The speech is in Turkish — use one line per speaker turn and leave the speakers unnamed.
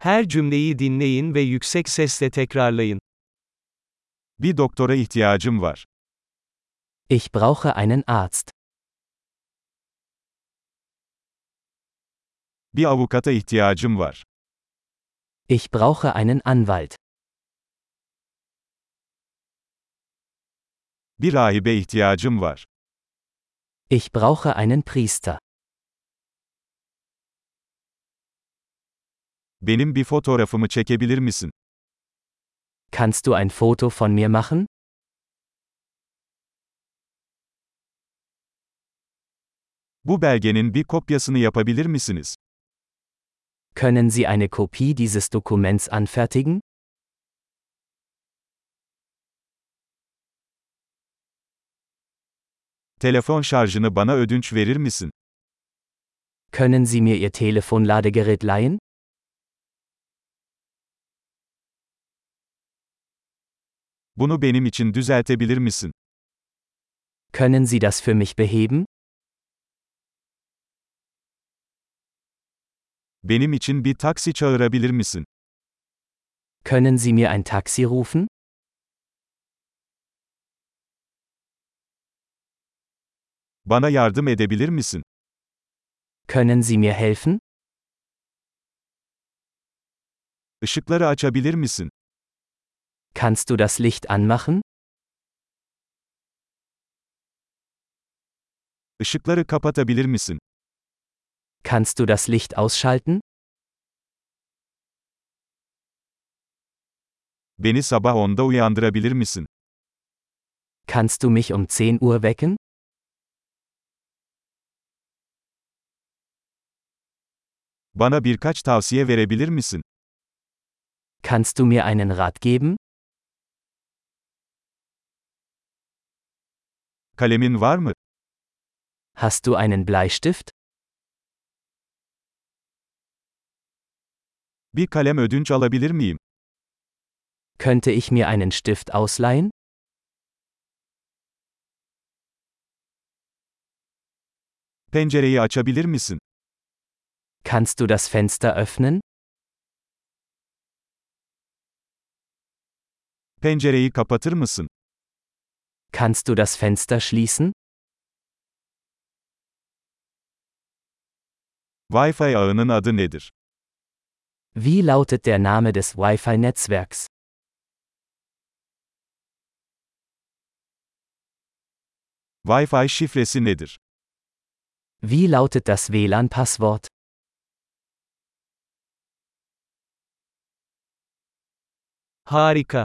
Her cümleyi dinleyin ve yüksek sesle tekrarlayın.
Bir doktora ihtiyacım var.
Ich brauche einen Arzt.
Bir avukata ihtiyacım var.
Ich brauche einen Anwalt.
Bir rahibe ihtiyacım var.
Ich brauche einen Priester.
Benim bir fotoğrafımı çekebilir misin?
Kannst du ein Foto von mir machen?
Bu belgenin bir kopyasını yapabilir misiniz?
Können Sie eine Kopie dieses Dokuments anfertigen?
Telefon şarjını bana ödünç verir misin?
Können Sie mir Ihr Telefonladegerät leihen?
Bunu benim için düzeltebilir misin?
Können Sie das für mich beheben?
Benim için bir taksi çağırabilir misin?
Können Sie mir ein Taxi rufen?
Bana yardım edebilir misin?
Können Sie mir helfen?
Işıkları açabilir misin?
Kannst du das Licht anmachen?
Işıkları kapatabilir misin?
Kannst du das Licht ausschalten?
Beni sabah 10'da uyandırabilir misin?
Kannst du mich um 10 Uhr wecken?
Bana birkaç tavsiye verebilir misin?
Kannst du mir einen Rat geben?
Kalemin var mı?
Hast du einen Bleistift?
Bir kalem ödünç alabilir miyim?
Könnte ich mir einen Stift ausleihen?
Pencereyi açabilir misin?
Kannst du das Fenster öffnen?
Pencereyi kapatır mısın?
Kannst du das Fenster schließen?
Wi-Fi ağının adı nedir?
Wie lautet der Name des Wi-Fi-Netzwerks?
Wi-Fi şifresi nedir?
Wie lautet das WLAN-Passwort?
Harika.